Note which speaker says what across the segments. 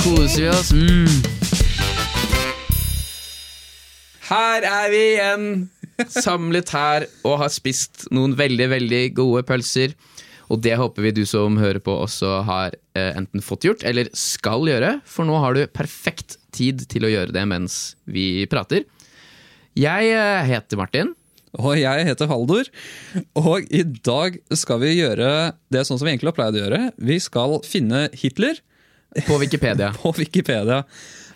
Speaker 1: koser vi oss. Mm. Her er vi igjen, samlet her og har spist noen veldig, veldig gode pølser. Og det håper vi du som hører på også har eh, enten fått gjort eller skal gjøre, for nå har du perfekt tid til å gjøre det mens vi prater. Jeg eh, heter Martin.
Speaker 2: Og jeg heter Haldor. Og i dag skal vi gjøre det sånn som vi egentlig har pleid å gjøre. Vi skal finne Hitler
Speaker 1: På Wikipedia.
Speaker 2: på Wikipedia.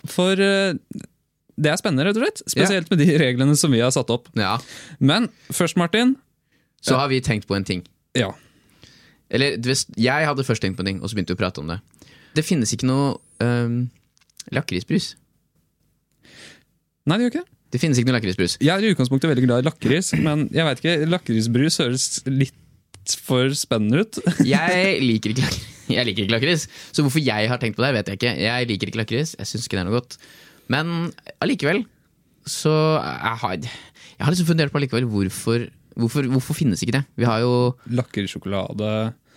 Speaker 2: For eh, det er spennende, rett og slett. Spesielt med de reglene som vi har satt opp.
Speaker 1: Ja.
Speaker 2: Men først, Martin.
Speaker 1: Så har vi tenkt på en ting.
Speaker 2: Ja.
Speaker 1: Eller du vet, jeg hadde først tenkt på en ting, og så begynte vi å prate om det. Det finnes ikke noe øhm, lakrisbrus.
Speaker 2: Nei, det gjør ikke det.
Speaker 1: Det finnes ikke noe lakrisbrus.
Speaker 2: Jeg er i utgangspunktet veldig glad i lakris, men jeg vet ikke, lakrisbrus høres litt for spennende ut.
Speaker 1: Jeg liker ikke lakris. Jeg liker ikke lakris. Så hvorfor jeg har tenkt på det, vet jeg ikke. Jeg liker ikke lakris. Jeg syns ikke det er noe godt. Men allikevel så jeg har, jeg har liksom fundert på allikevel hvorfor, hvorfor, hvorfor finnes ikke det? Vi har jo
Speaker 2: Lakrissjokolade.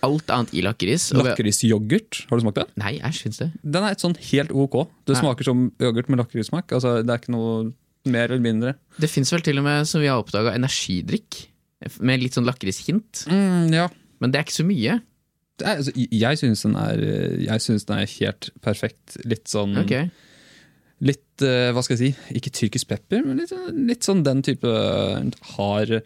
Speaker 1: alt annet i lakris. og vi-
Speaker 2: Lakrisyoghurt. Har du smakt den?
Speaker 1: Nei, jeg syns det.
Speaker 2: Den er et sånn helt ok. Det
Speaker 1: Ja.
Speaker 2: smaker som yoghurt med lakrissmak. Altså, det er ikke noe mer eller mindre.
Speaker 1: Det fins vel til og med, som vi har oppdaga, energidrikk med litt sånn lakrishint.
Speaker 2: ja.
Speaker 1: Men det er ikke så mye.
Speaker 2: Det er, altså, jeg syns den, er, jeg synes den er helt perfekt. Litt sånn
Speaker 1: Ok.
Speaker 2: Litt, eh, hva skal jeg si, ikke tyrkisk pepper, men litt, litt sånn den type eh, hard,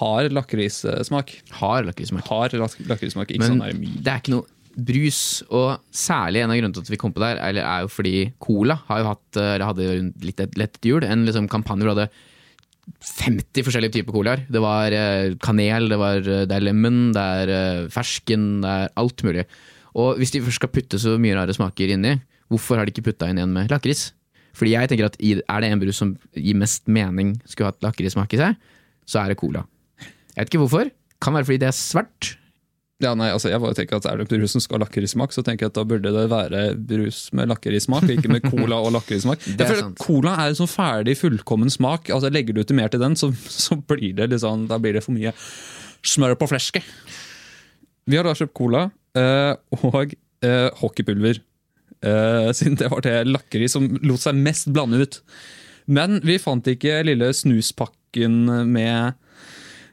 Speaker 2: hard lakrissmak.
Speaker 1: Har lakrismak.
Speaker 2: Hard lak- lakrissmak, ikke
Speaker 1: Men
Speaker 2: sånn der mye.
Speaker 1: det er ikke noe brus, og særlig en av grunnene til at vi kom på det her, eller er jo fordi Cola har jo hatt, eh, eller hadde jo litt et lett jul, en liksom kampanje hvor de hadde 50 forskjellige typer colaer. Det var eh, kanel, det, var, eh, det er lemon, det er eh, fersken, det er alt mulig. Og hvis de først skal putte så mye rare smaker inni, hvorfor har de ikke putta inn en med lakris? Fordi jeg tenker at i- er det en brus som gir mest mening skulle hatt lakrissmak i seg, så er det cola. Jeg vet ikke hvorfor. Kan være fordi det er svært.
Speaker 2: Ja, nei, altså, jeg bare tenker at Er det brus som skal ha lakrissmak, så tenker jeg at da burde det være brus med lakrissmak, og ikke med cola og lakrissmak. Jeg
Speaker 1: er
Speaker 2: føler
Speaker 1: sant.
Speaker 2: at Cola er en sånn ferdig, fullkommen smak. Altså, Legger du til mer til den, så, så blir det litt sånn, da blir det for mye smør på flesket. Vi har da kjøpt cola eh, og eh, hockeypulver, eh, siden det var det lakris som lot seg mest blande ut. Men vi fant ikke lille snuspakken med,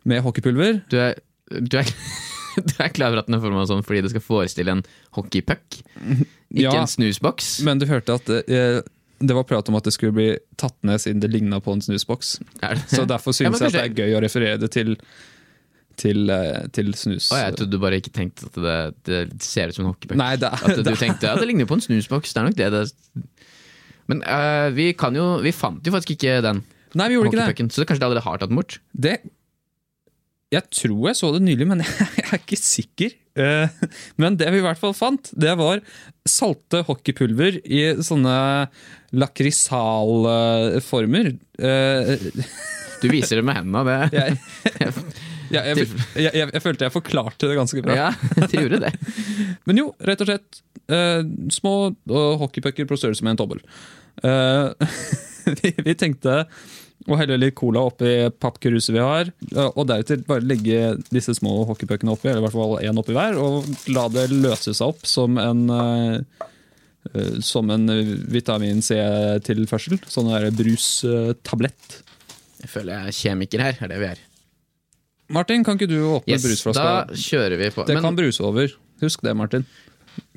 Speaker 2: med hockeypulver.
Speaker 1: Du er, du, er, du er klar over at den er forma sånn fordi det skal forestille en hockeypuck? Ikke
Speaker 2: Ja.
Speaker 1: en snusboks?
Speaker 2: Men du hørte at eh, det var prat om at det skulle bli tatt ned siden det ligna på en snusboks.
Speaker 1: Er det-
Speaker 2: Så derfor
Speaker 1: Ja, men
Speaker 2: synes jeg at
Speaker 1: kanskje-
Speaker 2: det er gøy å referere det til, til, eh, til snus.
Speaker 1: Å, jeg trodde du bare ikke tenkte at det, det ser ut som en hockeypuck.
Speaker 2: Nei, det
Speaker 1: At
Speaker 2: er,
Speaker 1: du tenkte ja, det ligner på en snusboks. Det er nok det det Men eh, vi kan jo Vi fant jo faktisk ikke den
Speaker 2: nei, vi gjorde ikke det.
Speaker 1: hockeypucken, så kanskje de allerede har tatt den bort?
Speaker 2: det. Jeg tror jeg så det nylig, men jeg er ikke sikker. Eh, Men det vi i hvert fall fant, det var salte hockeypulver i sånne lakrisalformer. Eh,
Speaker 1: Du viser det med hendene, det.
Speaker 2: Jeg, jeg, jeg, jeg, jeg, jeg følte jeg forklarte det ganske bra.
Speaker 1: Ja, det gjorde det.
Speaker 2: Men jo, rett og slett eh, Små eh, hockeypucker på størrelse med en tommel. Eh, vi, vi tenkte å helle litt cola oppi pappkruset vi har, eh, og deretter bare legge disse små hockeypuckene oppi, eller i hvert fall én oppi hver, og la det løse seg opp som en eh, eh, som en vitamin C-tilførsel. Sånn der brustablett.
Speaker 1: Jeg føler jeg er kjemiker her. er det vi er.
Speaker 2: Martin, kan ikke du åpne
Speaker 1: Yes,
Speaker 2: brusflaska?
Speaker 1: da kjører vi på.
Speaker 2: Det
Speaker 1: Men-
Speaker 2: kan bruse over. Husk det, Martin.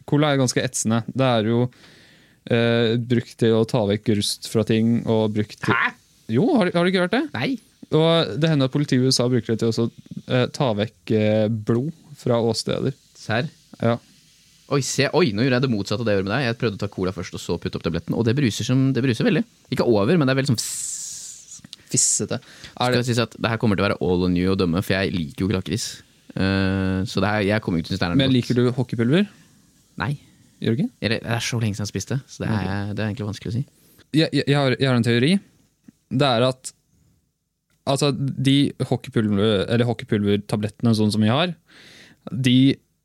Speaker 2: Cola er ganske etsende. Det er jo eh, brukt til å ta vekk rust fra ting. Og brukt til...
Speaker 1: Hæ?
Speaker 2: Jo, har, du- har du ikke hørt det?
Speaker 1: Nei.
Speaker 2: Og det hender at politiet i USA bruker det til å eh, ta vekk eh, blod fra åsteder.
Speaker 1: Serr?
Speaker 2: Ja.
Speaker 1: Oi, se, oi, nå gjorde jeg det motsatte av det jeg gjorde med deg. Jeg prøvde å ta cola først, og så putte opp tabletten. Og det bruser, som, det bruser veldig. Ikke over, men det er veldig sånn fss.
Speaker 2: Fissete.
Speaker 1: Skal det sies at det her kommer til å være all on you å dømme, for jeg liker jo ikke lakris. Eh, så det her, jeg kommer jo ikke til å synes det er noe
Speaker 2: Men
Speaker 1: godt.
Speaker 2: liker du hockeypulver?
Speaker 1: Nei.
Speaker 2: Gjør du ikke?
Speaker 1: Eller, Det er så lenge siden jeg har spist det, så det er, det er egentlig vanskelig å si.
Speaker 2: jeg, jeg, jeg, har, jeg har en teori. Det er at altså, de hockeypulver, eller hockeypulvertablettene sånn som vi har, de,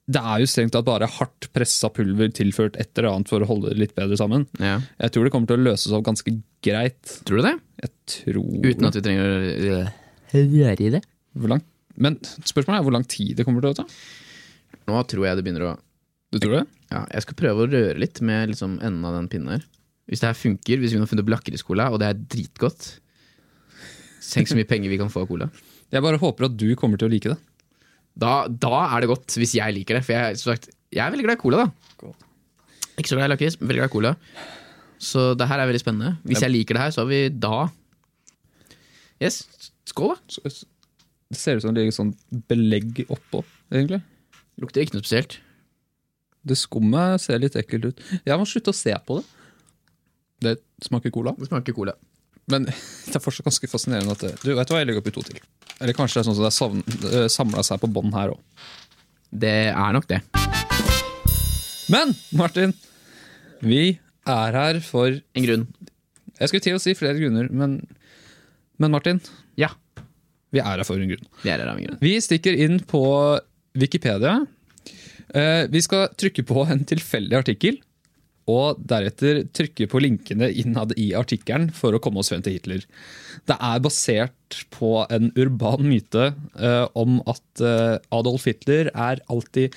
Speaker 2: det er jo strengt tatt bare hardt pressa pulver tilført et eller annet for å holde det litt bedre sammen.
Speaker 1: Ja.
Speaker 2: Jeg tror det kommer til å løses opp ganske greit.
Speaker 1: Tror du det?
Speaker 2: Jeg tror
Speaker 1: Uten at vi trenger å øh, høre i det.
Speaker 2: hvor lang, Men spørsmålet er hvor lang tid det kommer til å ta.
Speaker 1: Nå tror jeg det begynner å
Speaker 2: Du tror det?
Speaker 1: Ja, jeg skal prøve å røre litt med liksom enden av den pinnen her. Hvis det her funker, hvis vi nå har funnet opp lakriskola, og det er dritgodt Tenk så mye penger vi kan få av cola.
Speaker 2: Jeg bare håper at du kommer til å like det.
Speaker 1: Da, da er det godt, hvis jeg liker det. For jeg, som sagt, jeg er veldig glad i cola, da.
Speaker 2: Cool.
Speaker 1: Ikke så glad i lakris, men veldig glad i cola. Så det her er veldig spennende. Hvis jeg liker det her, så har vi da Yes, skål, da.
Speaker 2: Så- så- Det ser ut som det ligger sånn belegg oppå, egentlig.
Speaker 1: Lukter ikke noe spesielt.
Speaker 2: Det skummet ser litt ekkelt ut. Jeg må slutte å se på det. Det smaker cola.
Speaker 1: Det smaker cola.
Speaker 2: Men det er fortsatt ganske fascinerende at det, Du vet du hva, jeg legger oppi to til. Eller kanskje det er sånn som det er samla seg på bånn her òg.
Speaker 1: Det er nok det.
Speaker 2: Men Martin, vi er her for Jeg
Speaker 1: En grunn.
Speaker 2: skulle til å si flere grunner, men, men Martin,
Speaker 1: Ja,
Speaker 2: vi er her for en grunn.
Speaker 1: vi er her av en grunn.
Speaker 2: Vi stikker inn på Wikipedia. Eh, Vi skal trykke på en tilfeldig artikkel, og deretter trykke på linkene innad i artikkelen for å komme oss frem til Hitler. Det er basert på en urban myte eh, om at eh, Adolf Hitler er alltid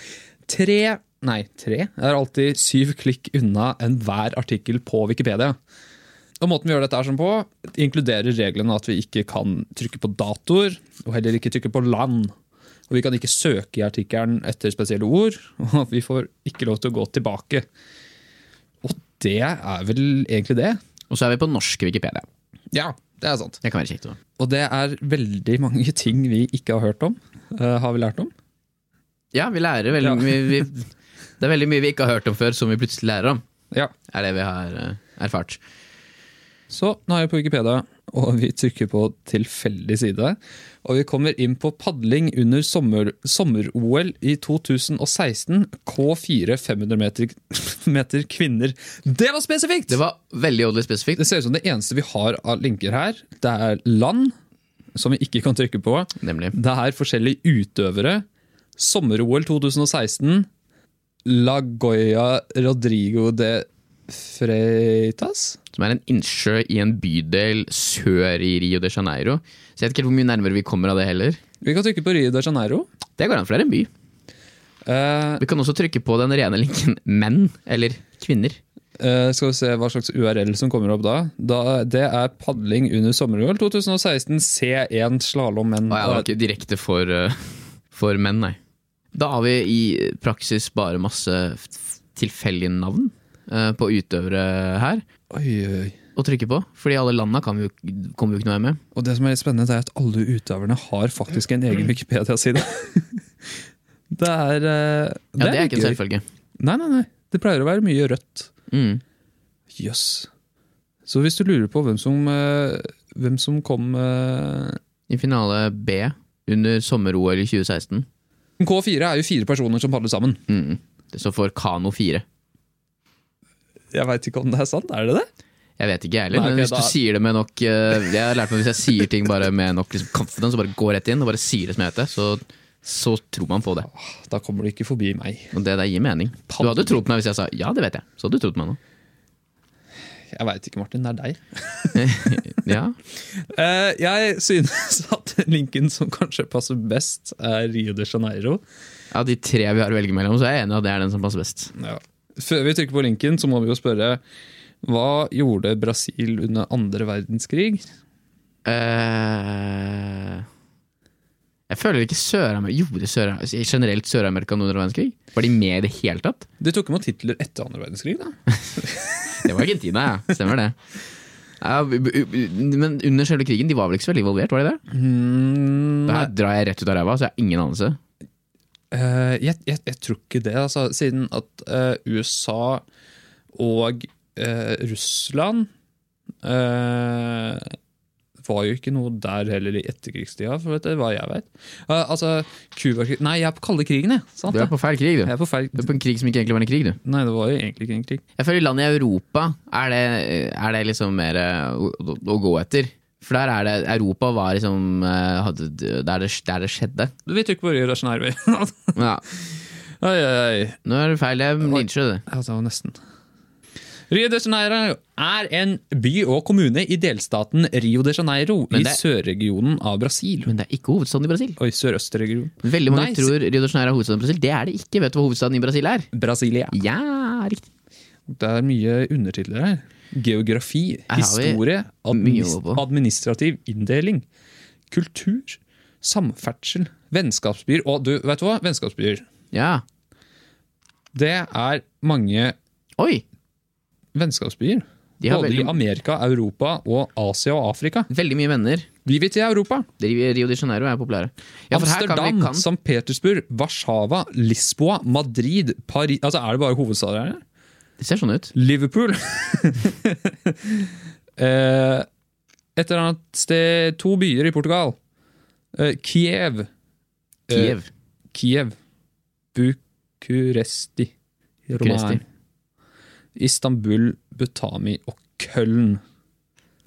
Speaker 2: tre Nei, tre er alltid syv klikk unna enhver artikkel på Wikipedia. Og måten vi gjør dette her som på, inkluderer reglene at vi ikke kan trykke på datoer, og heller ikke trykke på land. Og vi kan ikke søke i artikkelen etter spesielle ord, og vi får ikke lov til å gå tilbake. Og det er vel egentlig det?
Speaker 1: Og så er vi på norsk Wikipedia.
Speaker 2: Ja, det er sant.
Speaker 1: Det kan være kjekt. Også.
Speaker 2: Og det er veldig mange ting vi ikke har hørt om. eh, har vi lært om?
Speaker 1: Ja, vi lærer veldig
Speaker 2: Ja.
Speaker 1: mye vi, Det er veldig mye vi ikke har hørt om før, som vi plutselig lærer om.
Speaker 2: Ja.
Speaker 1: Er det vi har eh, erfart.
Speaker 2: Så nå er vi på Wikipedia, og vi trykker på tilfeldig side. Og vi kommer inn på padling under sommer- sommer-OL i 2016. K4 500 meter, meter kvinner. Det var spesifikt!
Speaker 1: Det var veldig oddelig spesifikt.
Speaker 2: Det ser ut som det eneste vi har av linker her, det er land, som vi ikke kan trykke på.
Speaker 1: Nemlig.
Speaker 2: Det er forskjellige utøvere. Sommer-OL 2016. Lagoya Rodrigo de Freitas?
Speaker 1: Som er en innsjø i en bydel sør i Rio de Janeiro. Så jeg vet ikke helt hvor mye nærmere vi kommer av det heller.
Speaker 2: Vi kan trykke på Rio de Janeiro.
Speaker 1: Det går an, for det er en by.
Speaker 2: Eh,
Speaker 1: Vi kan også trykke på den rene linken menn eller kvinner.
Speaker 2: eh, skal vi se hva slags URL som kommer opp da. da det er padling under sommer-OL 2016, C1 slalåm menn.
Speaker 1: Og jeg var ikke direkte for, eh, for menn, nei. Da har vi i praksis bare masse f- tilfeldige navn eh, på utøvere her
Speaker 2: Oi, oi, oi.
Speaker 1: å trykke på. Fordi alle landa kan vi jo, ikke- kommer vi jo ikke noe med.
Speaker 2: Og det som er litt spennende, det er at alle utøverne har faktisk en egen Wikipedia-side. det er
Speaker 1: Ja,
Speaker 2: eh,
Speaker 1: det er
Speaker 2: litt
Speaker 1: ikke en
Speaker 2: gøy.
Speaker 1: selvfølge.
Speaker 2: Nei, nei, nei. Det pleier å være mye rødt.
Speaker 1: Mm.
Speaker 2: Jøss. Så hvis du lurer på hvem som, eh, hvem som kom eh,
Speaker 1: I finale B under sommer-OL i 2016.
Speaker 2: K4 er jo fire personer som padler sammen.
Speaker 1: Mm. Det står for Kano 4.
Speaker 2: Jeg veit ikke om det er sant. Er det det?
Speaker 1: Jeg vet ikke, jeg heller.
Speaker 2: Nei,
Speaker 1: Men
Speaker 2: ok,
Speaker 1: hvis du
Speaker 2: da-
Speaker 1: sier det med nok eh, Jeg har lært meg at hvis jeg sier ting bare med nok liksom, confidence og bare går rett inn og bare sier det som jeg vet det, så, så tror man på det.
Speaker 2: Da kommer du ikke forbi meg.
Speaker 1: Og det der gir mening. Du hadde trodd på meg hvis jeg sa 'ja, det vet jeg'. Så hadde du trodd på meg nå.
Speaker 2: Jeg veit ikke, Martin. Det er deg.
Speaker 1: Ja,
Speaker 2: Eh, jeg synes at linken som kanskje passer best, er Rio de Janeiro.
Speaker 1: Av de tre vi har å velge mellom, så er jeg enig i at det er den som passer best.
Speaker 2: Ja. Før vi trykker på linken, så må vi jo spørre Hva gjorde Brasil under andre verdenskrig?
Speaker 1: Eh, jeg føler ikke Sør-Amerika Gjorde Sør generelt Sør-Amerika noe under verdenskrig? Var de med i det hele tatt?
Speaker 2: De tok imot Hitler etter andre verdenskrig, da.
Speaker 1: Det var Argentina, ja. Stemmer det. Ja, b- b- b- men under selve krigen, de var vel ikke så veldig involvert, var de det?
Speaker 2: Mm,
Speaker 1: Det her drar jeg rett ut av ræva, så jeg har ingen anelse.
Speaker 2: Eh, jeg, jeg, jeg tror ikke det, altså, siden at eh, USA og eh, Russland eh, var jo ikke noe der heller i etterkrigstida, for vet du hva jeg veit. altså, Cuba-krig Nei, jeg er på kalde krigen, jeg. Sant,
Speaker 1: Du er
Speaker 2: det?
Speaker 1: på feil krig,
Speaker 2: Jeg
Speaker 1: du.
Speaker 2: er på feil
Speaker 1: Du er på en krig som ikke egentlig var en krig, du.
Speaker 2: Nei, det var jo egentlig ikke en krig.
Speaker 1: Jeg føler land i Europa er det, er det liksom mer eh, å, å, å gå etter. For der er det Europa var liksom eh, hadde, der, det, der det skjedde.
Speaker 2: Vi trykker på Rio de Janeiro.
Speaker 1: Ja,
Speaker 2: Oi, oi, oi.
Speaker 1: nå er det feil. Jeg lynsjer det.
Speaker 2: Ja, det var nesten. Rio de Janeiro er en by og kommune i delstaten Rio de Janeiro
Speaker 1: Men
Speaker 2: i
Speaker 1: det-
Speaker 2: sørregionen av Brasil.
Speaker 1: Men det er ikke hovedstaden i Brasil.
Speaker 2: Oi, sørøstregionen.
Speaker 1: Veldig mange
Speaker 2: Nei, se-
Speaker 1: tror Rio de Janeiro er hovedstaden i Brasil. Det er det ikke. Vet du hva hovedstaden i Brasil er?
Speaker 2: Brasilia.
Speaker 1: Ja, riktig.
Speaker 2: Det er mye undertitler her. Geografi,
Speaker 1: Her har vi
Speaker 2: historie,
Speaker 1: mye
Speaker 2: administ
Speaker 1: å gå på.
Speaker 2: administrativ inndeling, kultur, samferdsel, vennskapsbyer Og du, vet du hva? Vennskapsbyer.
Speaker 1: Ja.
Speaker 2: Det er mange
Speaker 1: Oi!
Speaker 2: vennskapsbyer.
Speaker 1: De har
Speaker 2: Både i
Speaker 1: veldig,
Speaker 2: Amerika, Europa og Asia og Afrika.
Speaker 1: veldig mye venner.
Speaker 2: Vi vil til Europa.
Speaker 1: Rio de Janeiro er populære. Ja, for her kan vi
Speaker 2: Amsterdam,
Speaker 1: kan.
Speaker 2: St. Petersburg, Warszawa, Lisboa, Madrid, Paris Altså, er det bare hovedstader her?
Speaker 1: Det ser sånn ut.
Speaker 2: Liverpool. eh, et eller annet sted To byer i Portugal. Eh, Kiev. Eh,
Speaker 1: Kiev.
Speaker 2: Kiev. Bucuresti.
Speaker 1: Bucuresti.
Speaker 2: Romain. Istanbul, Butami og Køln.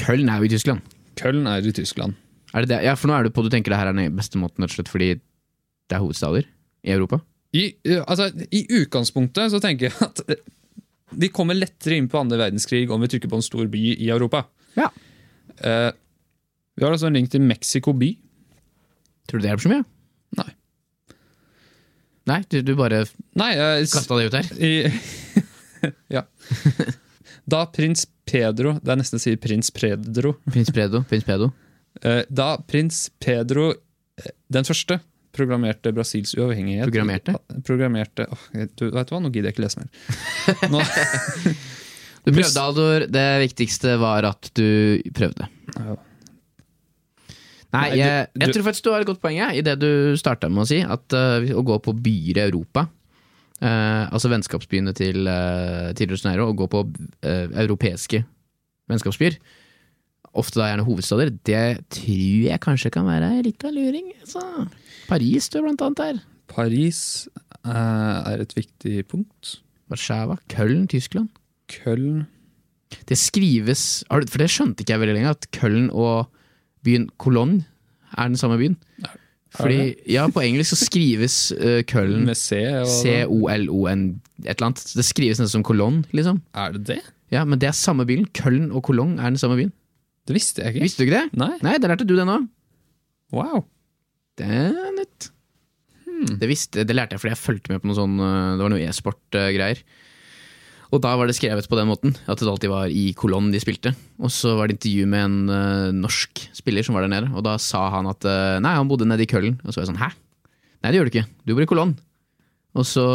Speaker 1: Köln er jo i Tyskland.
Speaker 2: Køln er i Tyskland.
Speaker 1: Er det det? Ja, for nå er du på du tenker det her er den beste måten, rett og slett fordi det er hovedstader i Europa.
Speaker 2: I, eh, altså, I utgangspunktet så tenker jeg at eh, vi kommer lettere inn på andre verdenskrig om vi trykker på en stor by i Europa.
Speaker 1: Ja.
Speaker 2: Eh, vi har altså en link til Mexico by.
Speaker 1: Tror du det hjelper så mye?
Speaker 2: Nei.
Speaker 1: Nei, du, du bare
Speaker 2: Nei, eh, s-
Speaker 1: kasta det ut her.
Speaker 2: I, ja. Da prins Pedro Det er nesten å si prins Pedro.
Speaker 1: Prins Predo. Prins Pedo.
Speaker 2: Eh, Da prins Pedro eh, den første programmerte Brasils uavhengighet
Speaker 1: Programmerte?
Speaker 2: Programmerte åh, du, Vet du hva, nå gidder jeg ikke lese mer. Nå,
Speaker 1: Du
Speaker 2: Mus-
Speaker 1: prøvde, Aldor. Det viktigste var at du prøvde.
Speaker 2: Ja.
Speaker 1: Nei,
Speaker 2: Nei, du-
Speaker 1: jeg, jeg
Speaker 2: du-
Speaker 1: tror faktisk du har et godt poeng jeg, i det du starta med å si. At eh, Å gå på byer i Europa, eh, altså vennskapsbyene til, uh, til Rio de Janeiro, og gå på eh, europeiske vennskapsbyer, ofte da gjerne hovedstader, det tror jeg kanskje kan være litt av luring. Så. Paris du er blant annet der.
Speaker 2: Paris eh, er et viktig punkt.
Speaker 1: Warszawa, Köln, Tyskland.
Speaker 2: Køln
Speaker 1: Det skrives har du- For det skjønte ikke jeg veldig lenge, at Køln og byen Cologne er den samme byen. Fordi, ja, På engelsk så skrives eh, Køln
Speaker 2: med C. Og,
Speaker 1: C-O-L-O-N et eller annet. Så Det skrives nesten som Cologne, liksom.
Speaker 2: Er det det?
Speaker 1: Ja, Men det er samme byen. Køln og Cologne er den samme byen.
Speaker 2: Det visste jeg ikke.
Speaker 1: Visste du ikke det?
Speaker 2: Nei?
Speaker 1: Nei, der lærte du det nå.
Speaker 2: Wow.
Speaker 1: Det er nytt. Det, visste, det lærte jeg fordi jeg fulgte med på noe sånn øh, Det var noe e-sport-greier. Og da var det skrevet på den måten, at det alltid var i kolonn de spilte. Og så var det intervju med en øh, norsk spiller som var der nede, og da sa han at øh, nei, han bodde nede i køllen. Og så var jeg sånn hæ? Nei, det gjør du ikke. Du bor i kolonn. Og så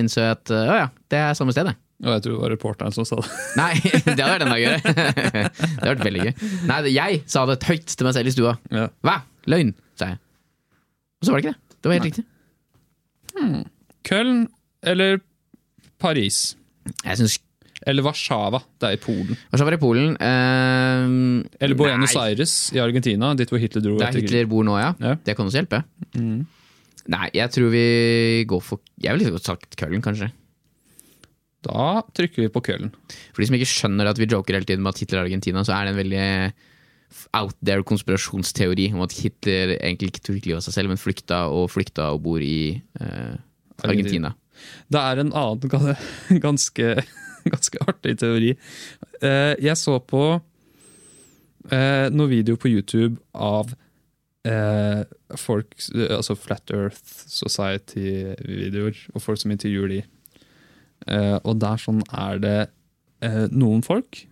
Speaker 1: innså jeg at øh, å ja, det er samme sted, det.
Speaker 2: Og jeg tror det var reporteren som sa det.
Speaker 1: Nei, det hadde vært enda gøyere. det hadde vært veldig gøy. Nei, det- jeg sa det høyt til meg selv i stua.
Speaker 2: Ja.
Speaker 1: Hva? Løgn, sa jeg. Og så var det ikke det. Det var helt riktig.
Speaker 2: Køln eller Paris?
Speaker 1: Jeg synes
Speaker 2: Eller Warszawa, det er i Polen.
Speaker 1: Warszawa er i Polen. eh,
Speaker 2: Eller Buenos
Speaker 1: nei,
Speaker 2: Aires i Argentina, dit hvor Hitler dro
Speaker 1: Der
Speaker 2: etter krigen.
Speaker 1: Hitler bor nå, ja.
Speaker 2: Ja.
Speaker 1: Det kan også hjelpe.
Speaker 2: Mm.
Speaker 1: Nei, jeg tror vi går for Jeg ville godt sagt Køllen, kanskje.
Speaker 2: Da trykker vi på Køln.
Speaker 1: For de som ikke skjønner at vi joker hele tiden med at Hitler er Argentina, så er det en veldig eh, out there konspirasjonsteori om at Hitler egentlig ikke tok livet av seg selv, men flykta og flykta og bor i eh, Argentina.
Speaker 2: Det er en annen gan- ganske, ganske artig teori. Eh, Jeg så på eh, noen video på YouTube av eh, folk, altså Flat Earth Society-videoer, og folk som intervjuer de. Eh, Og der sånn er det eh, noen folk,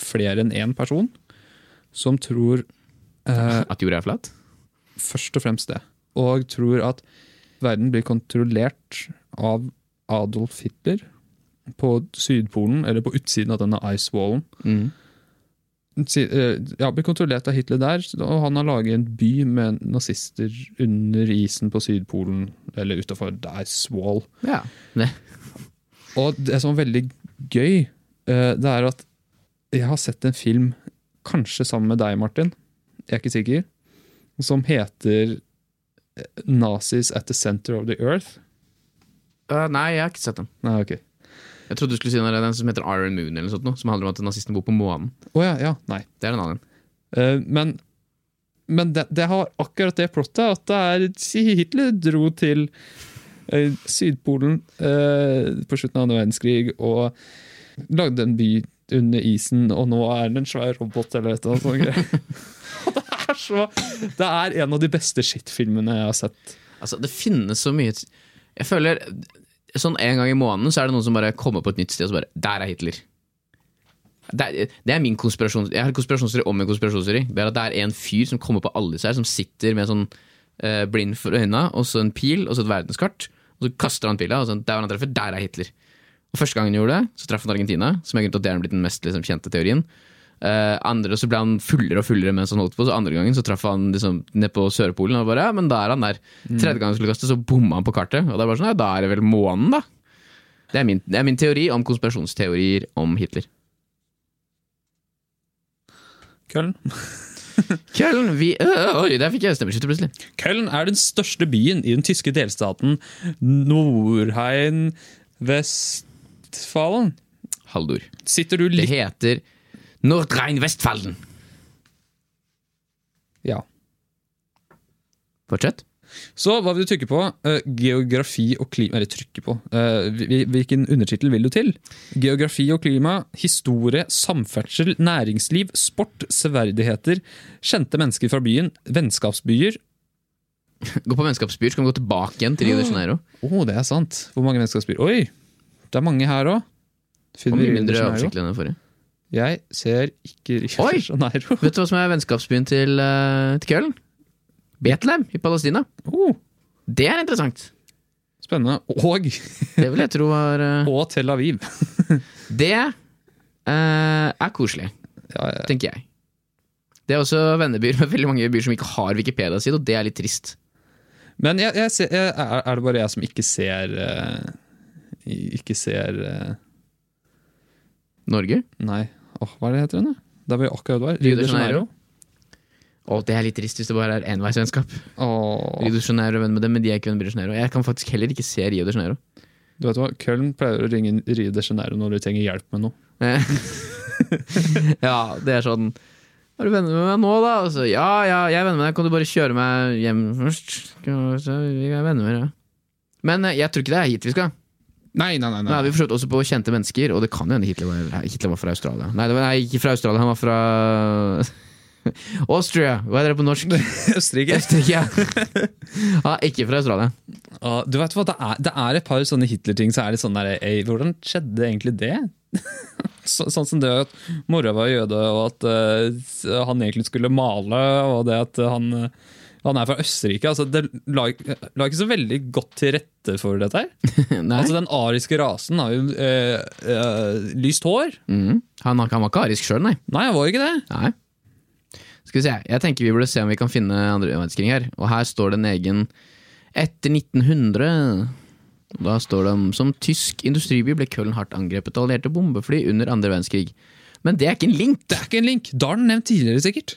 Speaker 2: flere enn én person, som tror eh,
Speaker 1: At jorda er flat?
Speaker 2: først og fremst det. Og tror at verden blir kontrollert av Adolf Hitler på Sydpolen, eller på utsiden av denne icewallen. Si- eh, Ja, blir kontrollert av Hitler der, og han har laget en by med nazister under isen på Sydpolen, eller utafor icewall.
Speaker 1: Ja. Det.
Speaker 2: Og det som er veldig gøy, eh, det er at jeg har sett en film, kanskje sammen med deg, Martin, jeg er ikke sikker, som heter eh, Nazis at the Center of the Earth.
Speaker 1: Eh, nei, jeg har ikke sett den.
Speaker 2: Nei, ok.
Speaker 1: Jeg trodde du skulle si den, der, den som heter Iron Moon, eller noe sånt, noe, som handler om at nazistene bor på månen.
Speaker 2: Å ja, ja, nei.
Speaker 1: Det er en annen.
Speaker 2: Eh, Men, men det, det har akkurat det plottet, at det er Hitler dro til eh, Sydpolen eh, på slutten av andre verdenskrig og lagde en by rett under isen, og nå er den en svær robot eller et eller annet sånt. greier. det er så Det er en av de beste shit-filmene jeg har sett.
Speaker 1: Altså, det finnes så mye Jeg føler Sånn en gang i måneden så er det noen som bare kommer på et nytt sted og så bare Der er Hitler. Det er, det er min konspirasjon Jeg har en konspirasjonsteori om en konspirasjonsteori. Det er at det er en fyr som kommer på alle disse her, som sitter med sånn eh, blind for øynene, og så en pil, og så et verdenskart. Og så kaster han pila, og sånn, der han treffer, der er Hitler. Og Første gangen han gjorde det, så traff han Argentina, som er grunnen til at det er blitt den mest liksom, kjente teorien. Eh, andre så ble han fullere og fullere mens han holdt på, så andre gangen så traff han liksom ned på Sørpolen. Og bare, ja, men da er han der.
Speaker 2: Mm.
Speaker 1: Tredje gang han skulle kaste, så bomma han på kartet. Og det er bare sånn, ja, da er det vel månen, da. Det er min, det er min teori om konspirasjonsteorier om Hitler.
Speaker 2: Køln.
Speaker 1: Køln, vi øh, Oi, der fikk jeg stemmeskytter plutselig.
Speaker 2: Køln er den største byen i den tyske delstaten Nordheim-Vestfalen.
Speaker 1: Haldor.
Speaker 2: Sitter du
Speaker 1: Det
Speaker 2: litt
Speaker 1: heter Nordrhein-Westfalen.
Speaker 2: Ja.
Speaker 1: Fortsett.
Speaker 2: Så hva vil du trykke på? Eh, geografi og klima Eller trykke på. Eh, hvil- hvilken undertittel vil du til? Geografi og klima, historie, samferdsel, næringsliv, sport, severdigheter, kjente mennesker fra byen, vennskapsbyer
Speaker 1: Gå på vennskapsbyer, så kan vi gå tilbake igjen til Rio de Janeiro.
Speaker 2: Å, det er sant! Hvor mange vennskapsbyer? Oi! Det er mange her òg.
Speaker 1: Og
Speaker 2: Finner vi
Speaker 1: mye
Speaker 2: Rio de
Speaker 1: mindre
Speaker 2: Janeiro?
Speaker 1: oversiktlig enn den forrige.
Speaker 2: Jeg ser ikke Rio
Speaker 1: Oi!
Speaker 2: de Janeiro.
Speaker 1: Vet du hva som er vennskapsbyen til, eh, til Køln? Betlehem i Palestina.
Speaker 2: Oh,
Speaker 1: Det er interessant.
Speaker 2: spennende. Og,
Speaker 1: Det vil jeg tro var eh,
Speaker 2: og Tel Aviv.
Speaker 1: Det eh, er koselig,
Speaker 2: Ja, ja.
Speaker 1: tenker jeg. Det er også vennebyer med veldig mange byer som ikke har Wikipedia-side, og det er litt trist.
Speaker 2: Men jeg, jeg ser, jeg, er er det bare jeg som ikke ser eh, Ikke ser eh,
Speaker 1: Norge?
Speaker 2: Nei, Åh, hva er det heter den? da? Der var jo akkurat det var.
Speaker 1: Rio de Å, det er litt trist hvis det bare er enveisvennskap. Rio
Speaker 2: Åh,
Speaker 1: de Janeiro er venn med dem, men de er ikke venn med Rio de Janeiro. Jeg kan faktisk heller ikke se Rio de Janeiro.
Speaker 2: du vet hva, Køln pleier å ringe Rio de Janeiro når de trenger hjelp med noe.
Speaker 1: Eh, ja, det er sånn Er du venner med meg nå, da? Og så, ja, ja, jeg er venner med deg. Kan du bare kjøre meg hjem først? Skal- Så vi er venner med deg. Men eh, jeg tror ikke det er hit vi skal.
Speaker 2: Nei, nei, nei.
Speaker 1: Nå har vi forsøkt også på kjente mennesker, og det kan jo hende Hitler var, nei, Hitler var fra Australia. Nei, det var, nei, ikke fra Australia, han var fra Austria! Hva er det på norsk?
Speaker 2: Østerrike.
Speaker 1: Østerrike. Han er ikke fra Australia.
Speaker 2: Åh, du vet hva, det er, det er et par sånne Hitler-ting, så er det sånn der «Ei, Hvordan skjedde egentlig det? Så, sånn som det at mora var jøde, og at eh, han egentlig skulle male, og det at han, eh, han er fra Østerrike. Altså, det la, la ikke så veldig godt til rette for dette her.
Speaker 1: Nei.
Speaker 2: Altså, den ariske rasen har jo eh, eh, lyst hår.
Speaker 1: Mhm. han, han var ikke arisk sjøl, nei.
Speaker 2: Nei, han var ikke det.
Speaker 1: Nei. Skal vi se. Jeg tenker vi burde se om vi kan finne andre verdenskrig her. Og her står det en egen Etter 1900 Og Da står det om som tysk industriby ble Köln hardt angrepet av allierte bombefly under andre verdenskrig. Men det er ikke en link!
Speaker 2: Det er ikke en link. Da har den nevnt tidligere, sikkert.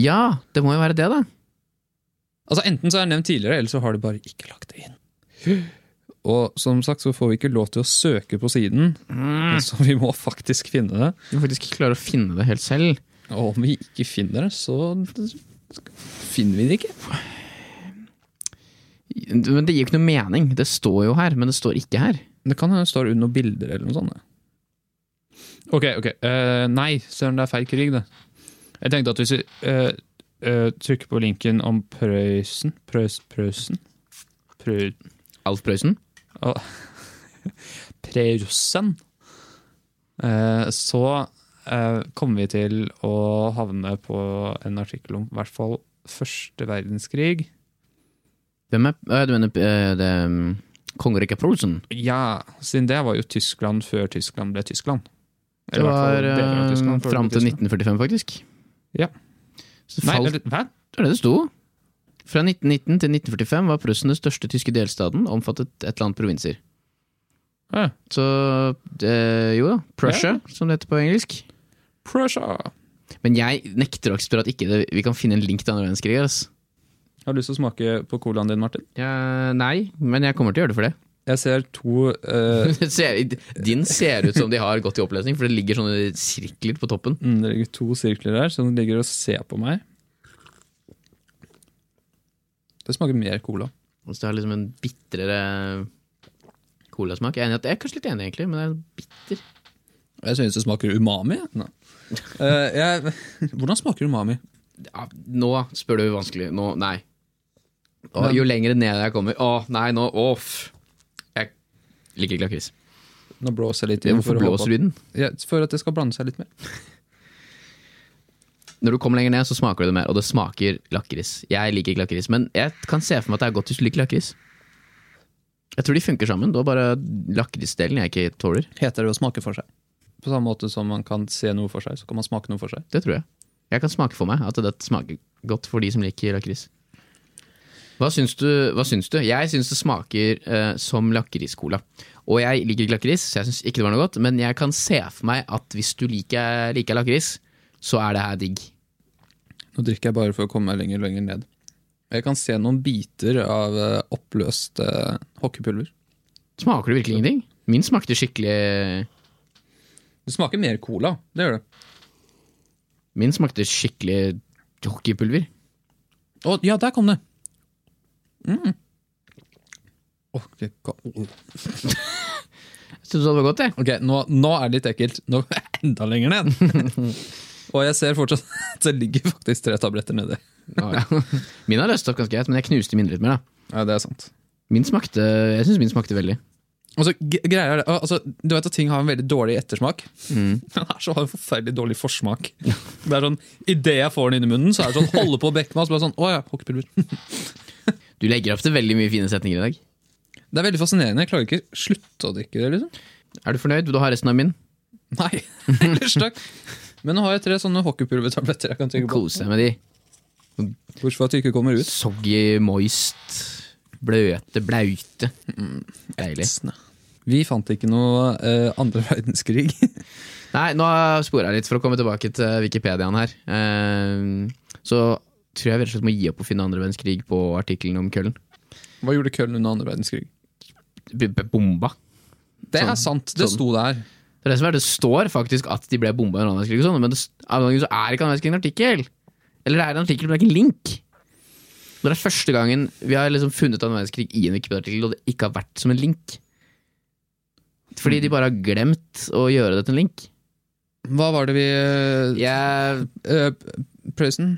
Speaker 1: Ja, det må jo være det, da.
Speaker 2: Altså Enten så er den nevnt tidligere, eller så har de bare ikke lagt det inn. Og som sagt så får vi ikke lov til å søke på siden, så vi må faktisk finne det.
Speaker 1: Vi må faktisk klare å finne det helt selv.
Speaker 2: Og om vi ikke finner det, så finner vi det ikke.
Speaker 1: Men det gir jo ikke noe mening. Det står jo her, men det står ikke her.
Speaker 2: Det kan hende det står under noen bilder eller noe sånt. ja. Ok, ok. Eh, nei, søren, det er feil krig, det. Jeg tenkte at hvis vi eh, eh, trykker på linken om Prøysen Prøys, Prøysen? Prøy,
Speaker 1: Alf Prøysen?
Speaker 2: Preussen, eh, så eh, kommer vi til å havne på en artikkel om i hvert fall første verdenskrig.
Speaker 1: Hvem er øh, Du mener øh, det mm, Kongeriket Prøysen?
Speaker 2: Ja, siden det var jo Tyskland før Tyskland ble Tyskland.
Speaker 1: Det
Speaker 2: Eller i hvert fall
Speaker 1: var
Speaker 2: deler av
Speaker 1: øh,
Speaker 2: Tyskland før det ble
Speaker 1: fram til
Speaker 2: Tyskland.
Speaker 1: 1945, faktisk.
Speaker 2: Ja.
Speaker 1: Så det
Speaker 2: Nei,
Speaker 1: falt
Speaker 2: eller, hva?
Speaker 1: Det var det det sto. Fra 1919 til 1945 var Prøyssen den største tyske delstaten, omfattet et eller annet provinser.
Speaker 2: Eh,
Speaker 1: Så det, jo da, Prussia,
Speaker 2: Ja.
Speaker 1: som det heter på engelsk.
Speaker 2: Prussia!
Speaker 1: Men jeg nekter å akseptere at ikke det, vi kan finne en link til andre verdenskrig. ass.
Speaker 2: Har du lyst til å smake på colaen din, Martin?
Speaker 1: Ja, nei, men jeg kommer til å gjøre det for det.
Speaker 2: Jeg ser to eh,
Speaker 1: Det ser- Din ser ut som de har gått i oppløsning, for det ligger sånne sirkler på toppen.
Speaker 2: mm, det ligger to sirkler der som ligger og ser på meg. Det smaker mer cola.
Speaker 1: Så det har liksom en bitrere colasmak. Jeg er enig i at jeg er kanskje litt enig, egentlig, men det er bitter.
Speaker 2: Jeg synes det smaker umami. Nei. Eh, jeg, hvordan smaker umami?
Speaker 1: Ja, nå spør du vanskelig. Nå, nei. Å, jo lenger ned jeg kommer Å, nei, nå Off. Jeg liker ikke lakris.
Speaker 2: Nå blåser jeg litt inn
Speaker 1: Hvorfor
Speaker 2: for å håpe
Speaker 1: blåser du i den?
Speaker 2: at- Ja, for at det skal blande seg litt mer.
Speaker 1: Når du kommer lenger ned, så smaker det det mer, og det smaker lakris. Jeg liker ikke lakris, men jeg kan se for meg at det er godt hvis du liker lakris. Jeg tror de funker sammen. Det var bare lakrisdelen jeg ikke tåler.
Speaker 2: Heter det å smake for seg? På samme måte som man kan se noe for seg, så kan man smake noe for seg.
Speaker 1: Det tror jeg. Jeg kan smake for meg at det smaker godt for de som liker lakris. Hva syns du? Hva syns du? Jeg syns det smaker eh, som lakriscola. Og jeg liker ikke lakris, så jeg syns ikke det var noe godt. Men jeg kan se for meg at hvis du liker, liker lakris, så er det her digg.
Speaker 2: Nå drikker jeg bare for å komme meg lenger og lenger ned. Jeg kan se noen biter av eh, oppløst eh, hockeypulver.
Speaker 1: Smaker det virkelig ingenting? Min smakte skikkelig
Speaker 2: Det smaker mer cola, det gjør det.
Speaker 1: Min smakte skikkelig hockeypulver.
Speaker 2: Å, ja, der kom det! Mm. Åh, det ga- åh.
Speaker 1: Jeg synes det var godt, jeg.
Speaker 2: Ok, nå, nå er det litt ekkelt. Nå er jeg enda lenger ned. Og jeg ser fortsatt at det ligger faktisk tre tabletter nedi.
Speaker 1: Min har løst opp ganske greit, men jeg knuste min litt mer. da.
Speaker 2: Ja, det er sant.
Speaker 1: Min smakte, Jeg syns min smakte veldig.
Speaker 2: Og så g- greia er det, altså, Du vet at ting har en veldig dårlig ettersmak. Den her så har en forferdelig dårlig forsmak. Det er sånn, Idet jeg får den inn i munnen, så er det sånn holde på å bekke meg. Og så blir det sånn, å ja, hockeypulver.
Speaker 1: Du legger opp til veldig mye fine setninger i dag.
Speaker 2: Det er veldig fascinerende. Jeg klarer ikke slutte å drikke det. liksom.
Speaker 1: Er du fornøyd? Vil du ha resten av min?
Speaker 2: Nei, ellers takk. Men nå har jeg tre sånne hockeypulvertabletter jeg kan tygge på.
Speaker 1: Kose deg med de.
Speaker 2: Bortsett fra at de ikke kommer ut.
Speaker 1: Soggy, moist, bløte, blaute. Deilig.
Speaker 2: Vi fant ikke noe eh, andre verdenskrig.
Speaker 1: Nei, nå spora jeg litt for å komme tilbake til Wikipediaen her. Eh, Så tror jeg vi rett og slett må gi opp å finne andre verdenskrig på artikkelen om køllen.
Speaker 2: Hva gjorde Køln under andre verdenskrig?
Speaker 1: B- b- Bomba.
Speaker 2: Det
Speaker 1: Sånn.
Speaker 2: er sant, det
Speaker 1: Sånn.
Speaker 2: sto der.
Speaker 1: Det, er det, som er, det står faktisk at de ble bomba under annen verdenskrig, og sånn, men det, av en eller annen grunn så er ikke annen verdenskrig en artikkel. Eller det er en artikkel, men det er ikke en link. Det er første gangen vi har liksom funnet annen verdenskrig i en Wikipedia-artikkel, og det ikke har vært som en link. Fordi de bare har glemt å gjøre det til en link.
Speaker 2: Hva var det vi eh,
Speaker 1: Jeg,
Speaker 2: eh, Prøysen?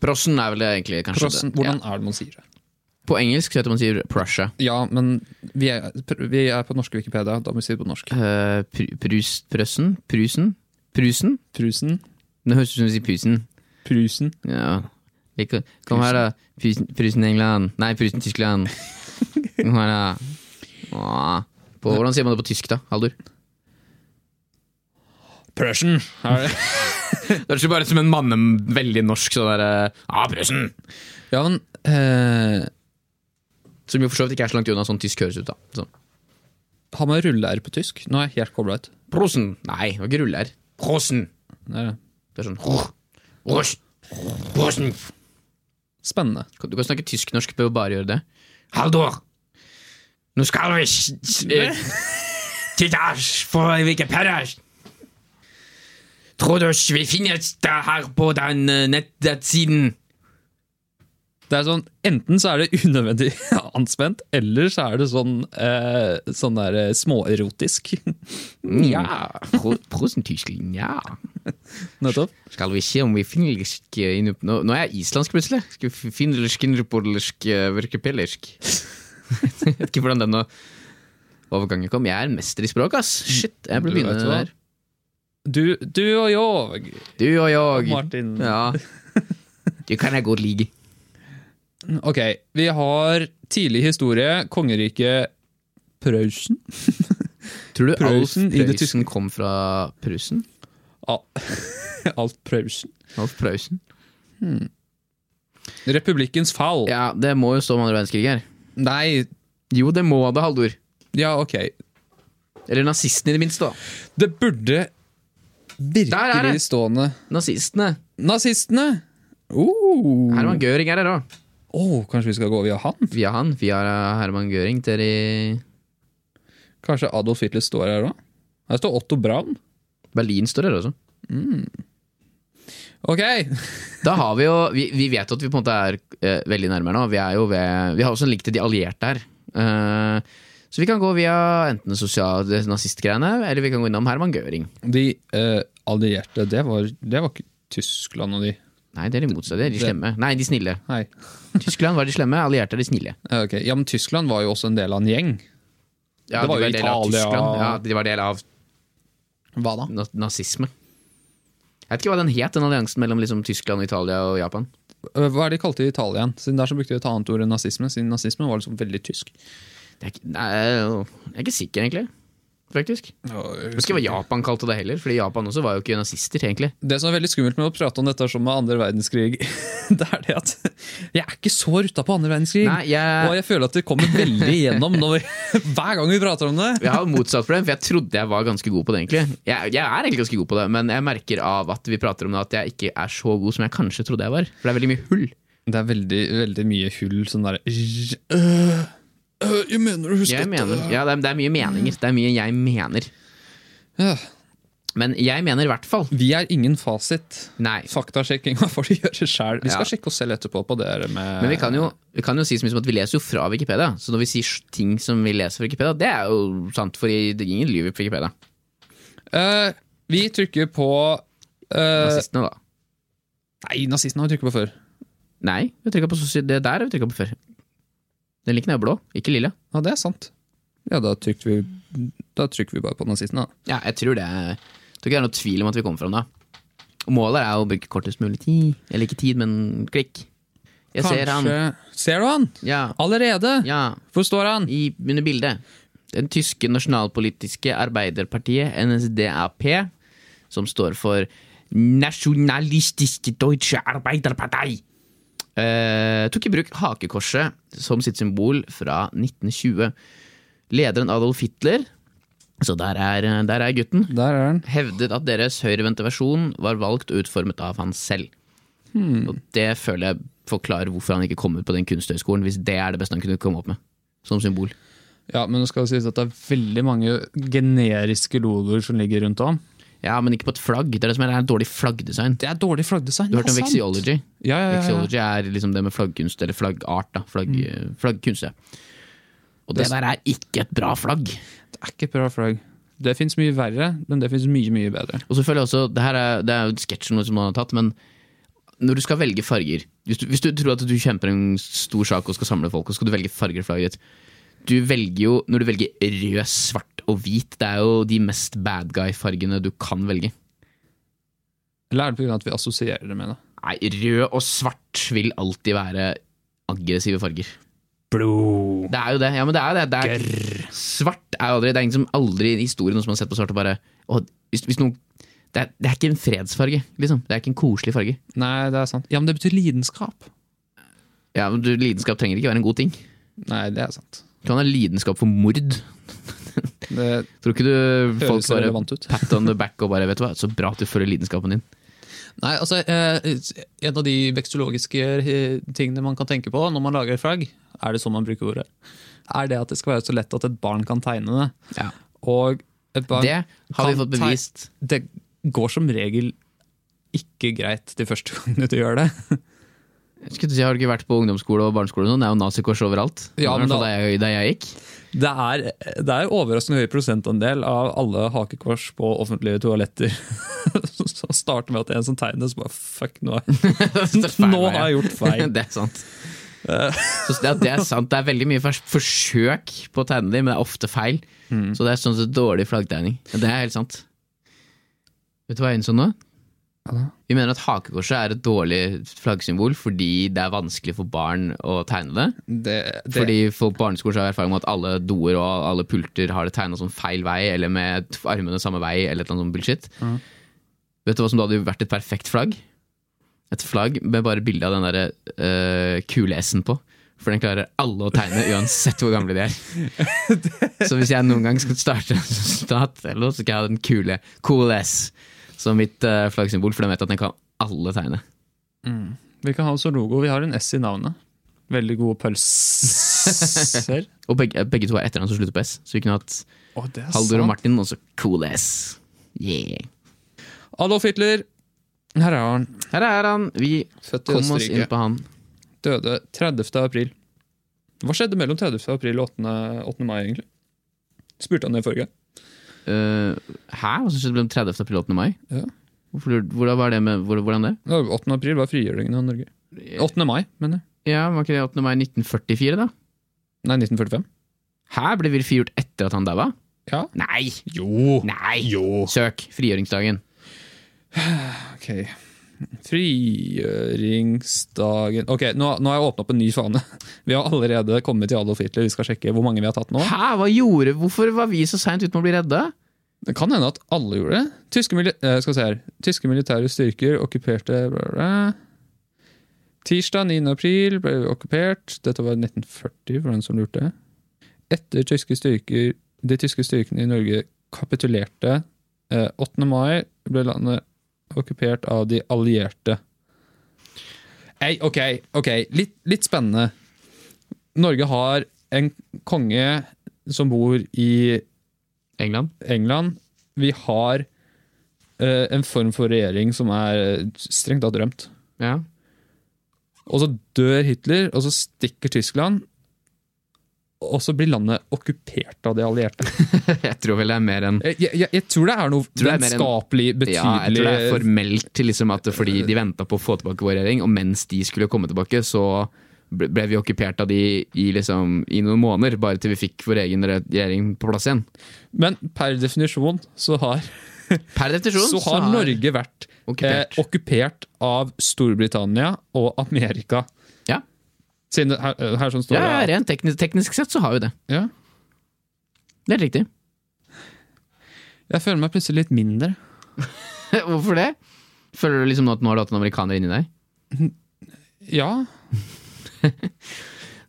Speaker 1: Prossen er vel det egentlig kanskje
Speaker 2: Prøysen?
Speaker 1: det.
Speaker 2: Hvordan er det man sier det?
Speaker 1: Ja. På engelsk så heter man sier Prussia.
Speaker 2: Ja, men vi er, pr- vi er på norske Wikipedia, da må vi si det på norsk.
Speaker 1: Eh, pr prus, Prøssen? Prusen? Prusen?
Speaker 2: Prusen?
Speaker 1: Det høres ut som du sier Pusen.
Speaker 2: Prusen.
Speaker 1: Ja. Like, kom her, da. Prusen, Prusen England. Nei, Prusen Tyskland. Kom her, da. Åh. På, hvordan sier man det på tysk, da? Haldur?
Speaker 2: Prusen! Er det?
Speaker 1: Det høres jo bare ut som en manne veldig norsk sånn derre Ja, Prusen!
Speaker 2: Ja, men eh,
Speaker 1: Som jo for så vidt ikke er så langt unna sånn tysk høres ut, da. Sånn.
Speaker 2: Har man rulle-r på tysk? Nå er jeg helt kobla ut.
Speaker 1: Prosen! Nei, det var ikke ruller. Prosen!
Speaker 2: Det er det.
Speaker 1: Det er sånn «Hur, hurs, Prosen!
Speaker 2: Spennende.
Speaker 1: Kan- Du kan snakke tysk-norsk ved å bare gjøre det. Haldur! Nå skal vi Titta for Wikipedia! Tror du vi finner det her på den eh, nettsiden?
Speaker 2: Det er sånn, Enten så er det unødvendig anspent, eller så er det sånn, eh, sånn der, eh, småerotisk.
Speaker 1: Ja. Prosentyskland, ja.
Speaker 2: Nettopp.
Speaker 1: Skal vi se om vi finner lisk inne på- Nå, nå er jeg islandsk, plutselig. Skal vi finne lisk inne på lisk eh, virkepelisk? Jeg vet ikke hvordan denne overgangen kom. Jeg er en mester i språk, ass. Shit, jeg burde
Speaker 2: Du vet
Speaker 1: begynne
Speaker 2: hva.
Speaker 1: der.
Speaker 2: Du, du og jeg,
Speaker 1: Du og jeg.
Speaker 2: Martin.
Speaker 1: Ja. Det kan jeg godt like.
Speaker 2: Ok, vi har tidlig historie, kongeriket Prøysen.
Speaker 1: Tror du
Speaker 2: Preussen
Speaker 1: Alf
Speaker 2: i det
Speaker 1: Preussen kom fra Prussen?
Speaker 2: Al- Alt Prøysen.
Speaker 1: Alf Preussen?
Speaker 2: Republikkens fall.
Speaker 1: Ja, det må jo stå om andre verdenskrig her.
Speaker 2: Nei,
Speaker 1: Jo, det må det, Haldur.
Speaker 2: ja, ok.
Speaker 1: Eller nazistene, i det minste. da.
Speaker 2: Det burde
Speaker 1: Der er det.
Speaker 2: virkelig stående
Speaker 1: Nazistene.
Speaker 2: Nazistene! Oh.
Speaker 1: Herman Göring er her òg.
Speaker 2: Åh, kanskje vi skal gå via han?
Speaker 1: Via han. Via Herman Göring til de
Speaker 2: Kanskje Adolf Hitler står her òg? Her står Otto Braun.
Speaker 1: Berlin står her også.
Speaker 2: Ok!
Speaker 1: Da har Vi jo, vi, vi vet at vi på en måte er eh, veldig nærmere nå. Vi, er jo ved, vi har også en link til de allierte her. Eh, Så vi kan gå via enten sosial nazistgreiene, eller vi kan gå innom Herman Göring.
Speaker 2: De eh, allierte, det var, det var ikke Tyskland og de.
Speaker 1: Nei, det er de motsatte. Det er de
Speaker 2: Det-
Speaker 1: slemme. Nei, de snille.
Speaker 2: Nei.
Speaker 1: Tyskland var de slemme, allierte er de snille.
Speaker 2: Eh, ok. Ja, men Tyskland var jo også en del av en gjeng.
Speaker 1: Ja,
Speaker 2: Det var
Speaker 1: de
Speaker 2: jo
Speaker 1: del av
Speaker 2: Italia.
Speaker 1: Tyskland. Ja, de var del av
Speaker 2: Hva da?
Speaker 1: na nazisme. Jeg vet ikke hva den het, den alliansen mellom liksom, Tyskland, Italia og Japan.
Speaker 2: Eh, Hva er det de kalte i Italia? igjen? Siden der så brukte de et annet ord enn nazisme. Siden nazisme var liksom veldig tysk.
Speaker 1: Det er ikke, nei, jeg er ikke sikker, egentlig. Faktisk. Jeg husker ikke hva Japan kalte det heller, Fordi Japan også var jo ikke nazister, egentlig.
Speaker 2: Det som er veldig skummelt med å prate om dette som med andre verdenskrig, det er det at jeg er ikke så rutta på andre verdenskrig.
Speaker 1: Nei, jeg-
Speaker 2: Og jeg føler at det kommer veldig igjennom når, hver gang vi prater om det.
Speaker 1: Jeg har motsatt problem, for jeg trodde jeg var ganske god på det, egentlig. Jeg, jeg er egentlig ganske god på det, men jeg merker av at vi prater om det at jeg ikke er så god som jeg kanskje trodde jeg var. For det er veldig mye hull.
Speaker 2: Det er veldig, veldig mye hull. Sånn derre øh, øh, Jeg mener å huske
Speaker 1: Jeg
Speaker 2: at-
Speaker 1: mener, ja, det, er, det er mye meninger. Det er mye jeg mener.
Speaker 2: Ja.
Speaker 1: Men jeg mener i hvert fall
Speaker 2: Vi er ingen fasit.
Speaker 1: nei.
Speaker 2: Faktasjekkinga får de gjøre sjæl. Vi skal
Speaker 1: Ja.
Speaker 2: sjekke oss selv etterpå på det der med
Speaker 1: Men vi kan, jo, vi kan jo si så mye som at vi leser jo fra Wikipedia, så når vi sier ting som vi leser fra Wikipedia, det er jo sant, for det ingen lyver på Wikipedia.
Speaker 2: Eh, Vi trykker på eh,
Speaker 1: Nazistene, da.
Speaker 2: Nei, nazistene har vi trykket på før.
Speaker 1: Nei, vi trykket på sosi- det der har vi trykka på før. Den linken er jo blå, ikke lilla.
Speaker 2: Ja, det er sant. Ja, da trykker vi, da trykker vi bare på nazistene, da.
Speaker 1: Ja, jeg tror det er- tror ikke det er noe tvil om at vi kommer fram da. Og målet er å bruke kortest mulig tid. Eller ikke tid, men klikk. Jeg ser han.
Speaker 2: Ser du han?
Speaker 1: Ja.
Speaker 2: Allerede?
Speaker 1: ja.
Speaker 2: Hvor står han?
Speaker 1: i, under bildet. Den tyske nasjonalpolitiske arbeiderpartiet, NSDAP, som står for Nasjonalistiske Deutsche Arbeiderpartei, eh, tok i bruk hakekorset som sitt symbol fra 1920. Lederen Adolf Hitler, så der er, der er gutten,
Speaker 2: Der er han.
Speaker 1: hevdet at deres høyrevendte versjon var valgt og utformet av han selv. Og det føler jeg forklarer hvorfor han ikke kom ut på den kunsthøgskolen, hvis det er det beste han kunne komme opp med. Som symbol.
Speaker 2: Ja, men det skal sies at det er veldig mange generiske logoer som ligger rundt om.
Speaker 1: Ja, men ikke på et flagg. Det er det som er, det er en dårlig flaggdesign.
Speaker 2: Det er dårlig flaggdesign.
Speaker 1: Du har hørt
Speaker 2: det
Speaker 1: om
Speaker 2: er sant.
Speaker 1: vexiology?
Speaker 2: Ja, ja, ja, ja.
Speaker 1: Vexiology er liksom det med flaggkunst, eller flaggart, da. Flagg, eh, Flaggkunst, ja. Og det
Speaker 2: Det-
Speaker 1: der er ikke et bra flagg.
Speaker 2: Det er ikke et bra flagg. Det fins mye verre, men det fins mye, mye bedre.
Speaker 1: Og så føler jeg også, det her er, det er jo sketsjen som han har tatt, men når du skal velge farger hvis du, hvis du tror at du kjemper en stor sak og skal samle folk, og skal du velge farger i flagget ditt Du velger jo, når du velger rød, svart og hvit, det er jo de mest bad guy-fargene du kan velge.
Speaker 2: Eller er det pga. at vi assosierer det med det?
Speaker 1: Nei, rød og svart vil alltid være aggressive farger.
Speaker 2: Blod.
Speaker 1: Det er jo det. ja, men det er jo det. det er, Svart er jo aldri Det er ingen som aldri i historien noen som har sett på svart og bare «Å, hvis, hvis noen, det, er, det er ikke en fredsfarge, liksom. Det er ikke en koselig farge.
Speaker 2: Nei, det er sant. Ja, men det betyr lidenskap.
Speaker 1: Ja, men du, Lidenskap trenger ikke være en god ting.
Speaker 2: Nei, det er sant.
Speaker 1: Du kan ha lidenskap for mord.
Speaker 2: Det
Speaker 1: Tror ikke du folk
Speaker 2: høres
Speaker 1: bare
Speaker 2: relevant ut.
Speaker 1: pat on the back og bare Vet du hva, så bra at du følger lidenskapen din.
Speaker 3: Nei, altså, eh, En av de vekstologiske eh, tingene man kan tenke på når man lager flagg, er det sånn man bruker ordet, er det at det skal være så lett at et barn kan tegne det.
Speaker 1: Ja.
Speaker 3: Og et barn,
Speaker 1: Det
Speaker 3: det,
Speaker 1: har vi
Speaker 3: Kan
Speaker 1: fått
Speaker 3: ta-
Speaker 1: bevist.
Speaker 3: går som regel ikke greit de første gangene du gjør det.
Speaker 1: Skulle til å si, Har du ikke vært på ungdomsskole og barneskole? nå? Det er jo nazikors overalt.
Speaker 3: Ja, men
Speaker 1: I hvert fall
Speaker 3: da-
Speaker 1: da jeg, da jeg gikk.
Speaker 3: Det er, det er overraskende høy prosentandel av alle hakekors på offentlige toaletter som starter med at det er en som tegner, så bare fuck, nå, er- nå har jeg gjort feil.
Speaker 1: det er sant.
Speaker 2: Eh.
Speaker 1: Så det, det er sant. Det er veldig mye fors- forsøk på å tegne dem, men det er ofte feil.
Speaker 2: Mm.
Speaker 1: Så det er sånn sett dårlig flaggtegning. Det er helt sant. Vet du hva jeg innså nå?
Speaker 2: Hva da?
Speaker 1: Vi mener at hakekorset er et dårlig flaggsymbol fordi det er vanskelig for barn å tegne det.
Speaker 2: Det, det,
Speaker 1: Fordi folk på barneskolen så har erfaring med at alle doer og alle pulter har det tegna sånn feil vei, eller med t- armene samme vei, eller et eller annet sånt bullshit.
Speaker 2: Mhm.
Speaker 1: Vet du hva som da hadde vært et perfekt flagg? Et flagg med bare bilde av den derre eh, kule S-en på. For den klarer alle å tegne, uansett hvor gamle de er. Så hvis jeg noen gang skal starte en stat, eller noe, så skal jeg ha den kule Cool S som mitt eh, flaggsymbol, for den vet at den kan alle tegne.
Speaker 2: Mm. Vi kan ha oss som logo. Vi har en S i navnet. Veldig gode pølser.
Speaker 1: Og begge, begge to har etternavn som slutter på S, så vi kunne hatt
Speaker 2: oh, det er
Speaker 1: Haldor og Martin, og så Cool S. Yeah.
Speaker 2: Adolf Hitler. Her er han.
Speaker 1: Her er han. Vi
Speaker 2: Født i
Speaker 1: kom oss inn
Speaker 2: Østerrike.
Speaker 1: på han.
Speaker 2: Døde 30. april. Hva skjedde mellom 30. april og 8. 8. mai, egentlig? Spurte han det forrige gang?
Speaker 1: Eh, hæ? Hva som skjedde mellom 30. april og 8. mai?
Speaker 2: Ja.
Speaker 1: Hvorfor, hvordan var det med, hvor- hvordan det?
Speaker 2: Ja, 8. april var frigjøringen av Norge. 8. mai, mener jeg.
Speaker 1: Ja, Var ikke det 8. mai 1944, da?
Speaker 2: Nei, 1945.
Speaker 1: Hæ? Ble vi frigjort etter at han daua?
Speaker 2: Ja.
Speaker 1: Nei!
Speaker 2: Jo!
Speaker 1: Nei!
Speaker 2: Jo!
Speaker 1: Søk! Frigjøringsdagen.
Speaker 2: Ok. Frigjøringsdagen Ok, nå, nå har jeg åpna opp en ny fane. Vi har allerede kommet til Adolf Hitler. Vi skal sjekke hvor mange vi har tatt nå.
Speaker 1: Hæ? Hva gjorde Hvorfor var vi så seint ute med å bli redda?
Speaker 2: Det kan hende at alle gjorde det. Tyske, mili eh, skal vi se her. Tyske militære styrker okkuperte bla, bla. Tirsdag 9. april ble vi okkupert. Dette var 1940, for den som lurte. Etter tyske styrker, de tyske styrkene i Norge kapitulerte eh, 8. mai, ble landet okkupert av de allierte. Ei, ok, ok. Litt, litt spennende. Norge har en konge som bor i
Speaker 1: England?
Speaker 2: England. Vi har eh, en form for regjering som er strengt tatt rømt.
Speaker 1: Ja.
Speaker 2: Og så dør Hitler, og så stikker Tyskland. Og så blir landet okkupert av de allierte.
Speaker 1: Jeg tror vel det er mer enn
Speaker 2: Jeg, jeg, jeg- jeg tror det er noe
Speaker 1: Tror det er mer enn-
Speaker 2: vennskapelig
Speaker 1: ja, jeg
Speaker 2: betydelig
Speaker 1: tror det er formelt til liksom at det- fordi de venta på å få tilbake vår regjering, og mens de skulle komme tilbake, så ble ble vi okkupert av de i, liksom, i noen måneder, bare til vi fikk vår egen re- regjering på plass igjen.
Speaker 2: Men per definisjon så har,
Speaker 1: Per definisjon
Speaker 2: så har Norge vært
Speaker 1: Okkupert.
Speaker 2: Eh, okkupert av Storbritannia og Amerika.
Speaker 1: Ja.
Speaker 2: Siden det- her, her sånn står
Speaker 1: ja, ja,
Speaker 2: det at-
Speaker 1: rent teknisk, teknisk sett så har vi det.
Speaker 2: ja.
Speaker 1: Det er riktig.
Speaker 2: Jeg føler meg plutselig litt mindre.
Speaker 1: Hvorfor det? Føler du liksom nå at nå har du hatt en amerikaner inni deg?
Speaker 2: Ja,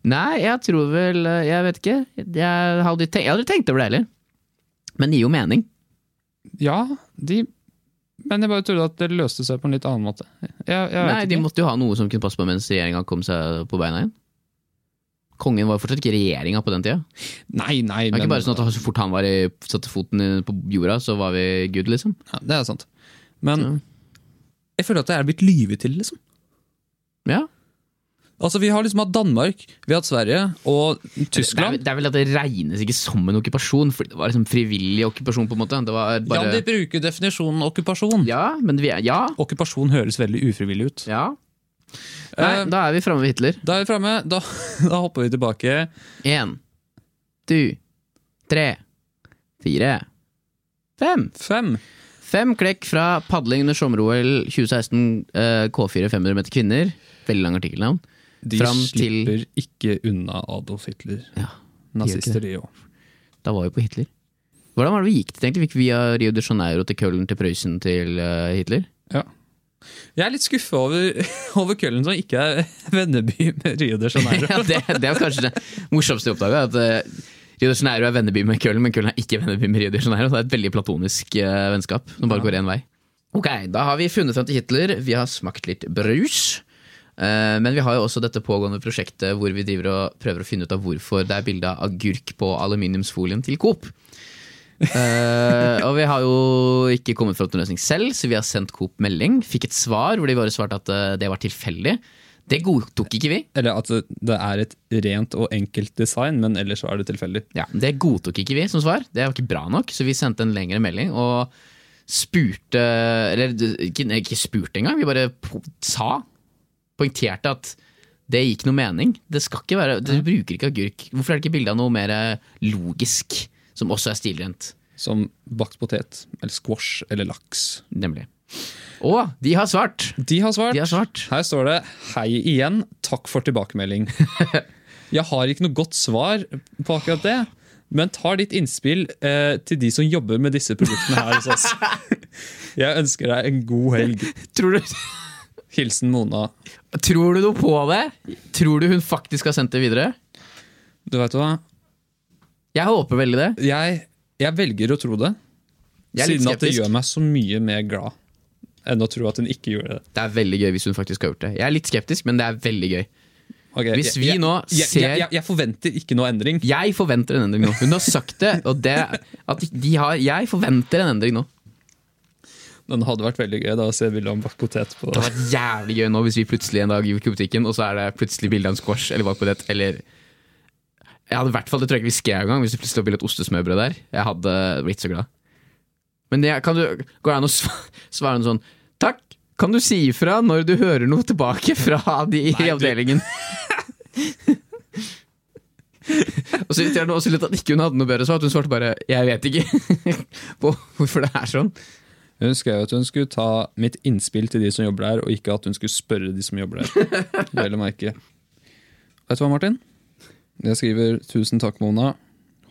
Speaker 1: Nei, jeg tror vel eh, Jeg vet ikke. Jeg har aldri tenkt, jeg har aldri tenkt over det heller. Men det gir jo mening.
Speaker 2: Ja, de Men jeg bare trodde at det løste seg på en litt annen måte. Jeg, jeg vet
Speaker 1: Nei, De
Speaker 2: ikke.
Speaker 1: måtte jo ha noe som kunne passe på mens regjeringa kom seg på beina igjen. Kongen var jo fortsatt ikke regjeringa på den tida.
Speaker 2: nei, nei,
Speaker 1: Det er
Speaker 2: men-
Speaker 1: ikke bare sånn at så fort han var i, satte foten i- på jorda, så var vi good, liksom.
Speaker 2: ja, Det er sant. Men jeg føler at det er blitt lyvet til, liksom.
Speaker 1: Ja.
Speaker 2: Altså, Vi har liksom hatt Danmark, vi har hatt Sverige og
Speaker 1: Det, er,
Speaker 2: Tyskland.
Speaker 1: det er vel at det regnes ikke som en okkupasjon, for det var liksom frivillig okkupasjon, på en måte. Det var
Speaker 2: Ja, de
Speaker 1: bare...
Speaker 2: bruker definisjonen okkupasjon.
Speaker 1: Ja, men vi er Ja.
Speaker 2: Okkupasjon høres veldig ufrivillig ut.
Speaker 1: ja. Nei,
Speaker 2: Eh,
Speaker 1: da er vi framme ved Hitler.
Speaker 2: Da er vi framme. Da, da hopper vi tilbake.
Speaker 1: Én, to, tre, fire, fem.
Speaker 2: Fem.
Speaker 1: Fem klekk fra padling under sommer-OL 2016, eh, K4 500 meter kvinner. Veldig lang artikkelnavn.
Speaker 2: De
Speaker 1: Fram til-
Speaker 2: slipper ikke unna Adolf Hitler.
Speaker 1: Ja,
Speaker 2: Nazister, de òg.
Speaker 1: Da var vi på Hitler. Hvordan var det vi gikk til, egentlig? Fikk vi via Rio de Janeiro til Köln til Prøysen til eh, Hitler?
Speaker 2: Jeg er litt skuffa over, over Køllen, som ikke er venneby med Rio de Janeiro.
Speaker 1: Ja, det, det var kanskje det morsomste jeg oppdaga. At eh, Rio de Janeiro er venneby med Köln, men Köln er ikke venneby med Rio de Janeiro. Det er et veldig platonisk eh, vennskap som bare går én vei. Ok, Da har vi funnet fram til Hitler, vi har smakt litt brus. eh, Men vi har jo også dette pågående prosjektet hvor vi driver og prøver å finne ut av hvorfor det er bilde av agurk på aluminiumsfolien til Coop. Eh, og vi har jo ikke kommet fram til en løsning selv, så vi har sendt Coop melding. Fikk et svar hvor de bare svarte at eh, det var tilfeldig. Det godtok ikke vi.
Speaker 2: Eller at det er et rent og enkelt design, men ellers så er det tilfeldig.
Speaker 1: Ja, Det godtok ikke vi som svar. Det var ikke bra nok, så vi sendte en lengre melding og spurte Eller ikke, nei, ikke spurte engang, vi bare po- sa, poengterte at det gikk noe mening. Det skal ikke være, Dere bruker ikke agurk. Hvorfor er det ikke bilde av noe mer eh, logisk, som også er stilrent?
Speaker 2: Som bakt potet, eller squash, eller laks.
Speaker 1: Nemlig. Og de har svart!
Speaker 2: De har svart.
Speaker 1: De har svart.
Speaker 2: Her står det 'Hei igjen, takk for tilbakemelding'. Jeg har ikke noe godt svar på akkurat det, men tar ditt innspill eh, til de som jobber med disse produktene her hos oss. Jeg ønsker deg en god helg.
Speaker 1: Tror du,
Speaker 2: Hilsen Mona.
Speaker 1: tror du noe på det? Tror du hun faktisk har sendt det videre?
Speaker 2: Du veit hva?
Speaker 1: Jeg håper veldig det.
Speaker 2: Jeg, jeg velger å tro det,
Speaker 1: Jeg er litt
Speaker 2: siden at det
Speaker 1: skeptisk.
Speaker 2: gjør meg så mye mer glad enn å tro at hun ikke gjør det.
Speaker 1: Det er veldig gøy hvis hun faktisk har gjort det. Jeg er litt skeptisk, men det er veldig gøy.
Speaker 2: Ok,
Speaker 1: Hvis
Speaker 2: jeg-
Speaker 1: vi
Speaker 2: jeg,
Speaker 1: nå
Speaker 2: jeg,
Speaker 1: ser-
Speaker 2: jeg, jeg, jeg forventer ikke noe endring.
Speaker 1: Jeg forventer en endring nå. Hun har sagt det, og det at de har Jeg forventer en endring nå.
Speaker 2: Men det hadde vært veldig gøy da, å se bilde av en bakt potet på
Speaker 1: Det hadde vært jævlig gøy nå hvis vi plutselig en dag gikk på butikken, og så er det plutselig bilde av en squash eller bakpå det, eller Jeg hadde i hvert fall, det tror jeg ikke vi skrev engang, hvis det plutselig ble litt ostesmørbrød der. Jeg hadde blitt så glad. Men det, kan du, går det an å sva- svare noe sånn Takk! Kan du si ifra når du hører noe tilbake fra de i avdelingen? og så irriterer det meg også litt at ikke hun hadde noe bedre svar. At hun svarte bare 'jeg vet ikke' på hvorfor det er sånn.
Speaker 2: Hun skrev at hun skulle ta mitt innspill til de som jobber der, og ikke at hun skulle spørre de som jobber der. Vel å merke. Vet du hva, Martin? Jeg skriver 'tusen takk, Mona'.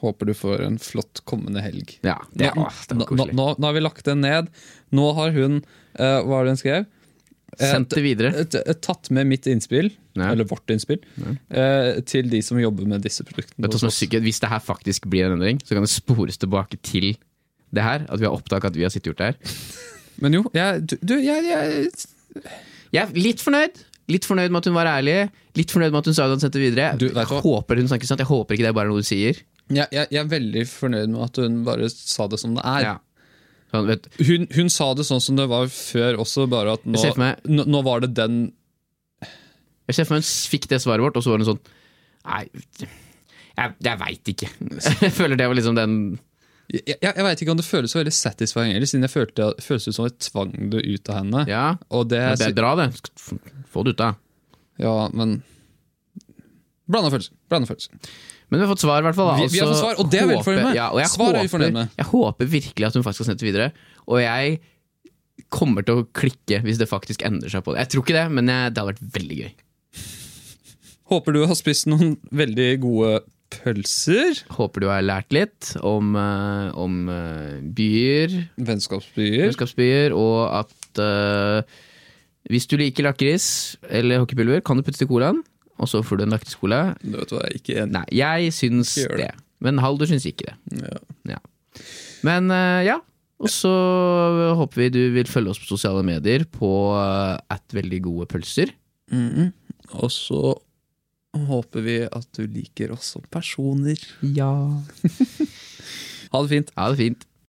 Speaker 2: Håper du får en flott kommende helg.
Speaker 1: Ja, det,
Speaker 2: Nå-
Speaker 1: å, det var
Speaker 2: nå, nå,
Speaker 1: koselig.
Speaker 2: nå, nå har vi lagt den ned. Nå har hun eh, Hva var det hun skrev? Eh,
Speaker 1: Sendt det videre.
Speaker 2: t- t- Tatt med mitt innspill,
Speaker 1: Ja.
Speaker 2: eller vårt innspill, eh, til de som jobber med disse produktene.
Speaker 1: Vet du hva som er
Speaker 2: hos oss.
Speaker 1: sykt? Hvis det her faktisk blir en endring, så kan det spores tilbake til det her. At vi har oppdaget at vi har sittet og gjort det her.
Speaker 2: Men jo, jeg, du, du, jeg, jeg
Speaker 1: Jeg er litt fornøyd. Litt fornøyd med at hun var ærlig. Litt fornøyd med at hun sa at hun sendte videre.
Speaker 2: Du, vet du
Speaker 1: jeg
Speaker 2: hva?
Speaker 1: håper hun snakker sant. Jeg håper ikke det er bare noe du sier.
Speaker 2: Jeg, jeg, jeg er veldig fornøyd med at hun bare sa det som det er.
Speaker 1: Ja. Sånn, vet,
Speaker 2: Hun, hun sa det sånn som det var før også, bare at nå,
Speaker 1: ser for meg-
Speaker 2: nå, nå var det den
Speaker 1: jeg ser for meg hun fikk det svaret vårt, og så var hun sånn Nei, jeg, jeg veit ikke. Jeg føler det var liksom den
Speaker 2: Jeg, jeg, jeg veit ikke om det føles så veldig satisfying heller, siden jeg følte det føles ut som jeg tvang det ut av henne.
Speaker 1: Ja,
Speaker 2: Og det,
Speaker 1: det er bra, det. Få det ut, da.
Speaker 2: Ja, men Blanda følelser. Blanda følelser.
Speaker 1: Men vi har fått svar, i hvert fall. da. Altså,
Speaker 2: Vi- vi har fått svar, og det er vi
Speaker 1: håper-
Speaker 2: fornøyd med.
Speaker 1: Ja, og jeg
Speaker 2: Svar er vi
Speaker 1: håper-
Speaker 2: fornøyd med.
Speaker 1: Jeg håper virkelig at hun faktisk har sendt det videre. Og jeg kommer til å klikke hvis det faktisk endrer seg på det. Jeg tror ikke det, men jeg, det hadde vært veldig gøy.
Speaker 2: Håper du har spist noen veldig gode pølser.
Speaker 1: Håper du har lært litt om, eh, om eh, byer,
Speaker 2: Vennskapsbyer.
Speaker 1: kunnskapsbyer, og at eh, hvis du liker lakris eller hockeypulver, kan du putte til colaen, og så får du en lakriscola.
Speaker 2: Du vet hva, jeg er ikke enig
Speaker 1: Nei, jeg syns
Speaker 2: Ikke gjør
Speaker 1: det.
Speaker 2: det.
Speaker 1: Men Haldur syns ikke det.
Speaker 2: Ja.
Speaker 1: Men eh, ja, og så håper vi du vil følge oss på sosiale medier på eh, at veldig gode pølser.
Speaker 2: Mhm. Og så håper vi at du liker oss som personer.
Speaker 1: Ja.
Speaker 2: Ha det fint.
Speaker 1: Ha det fint.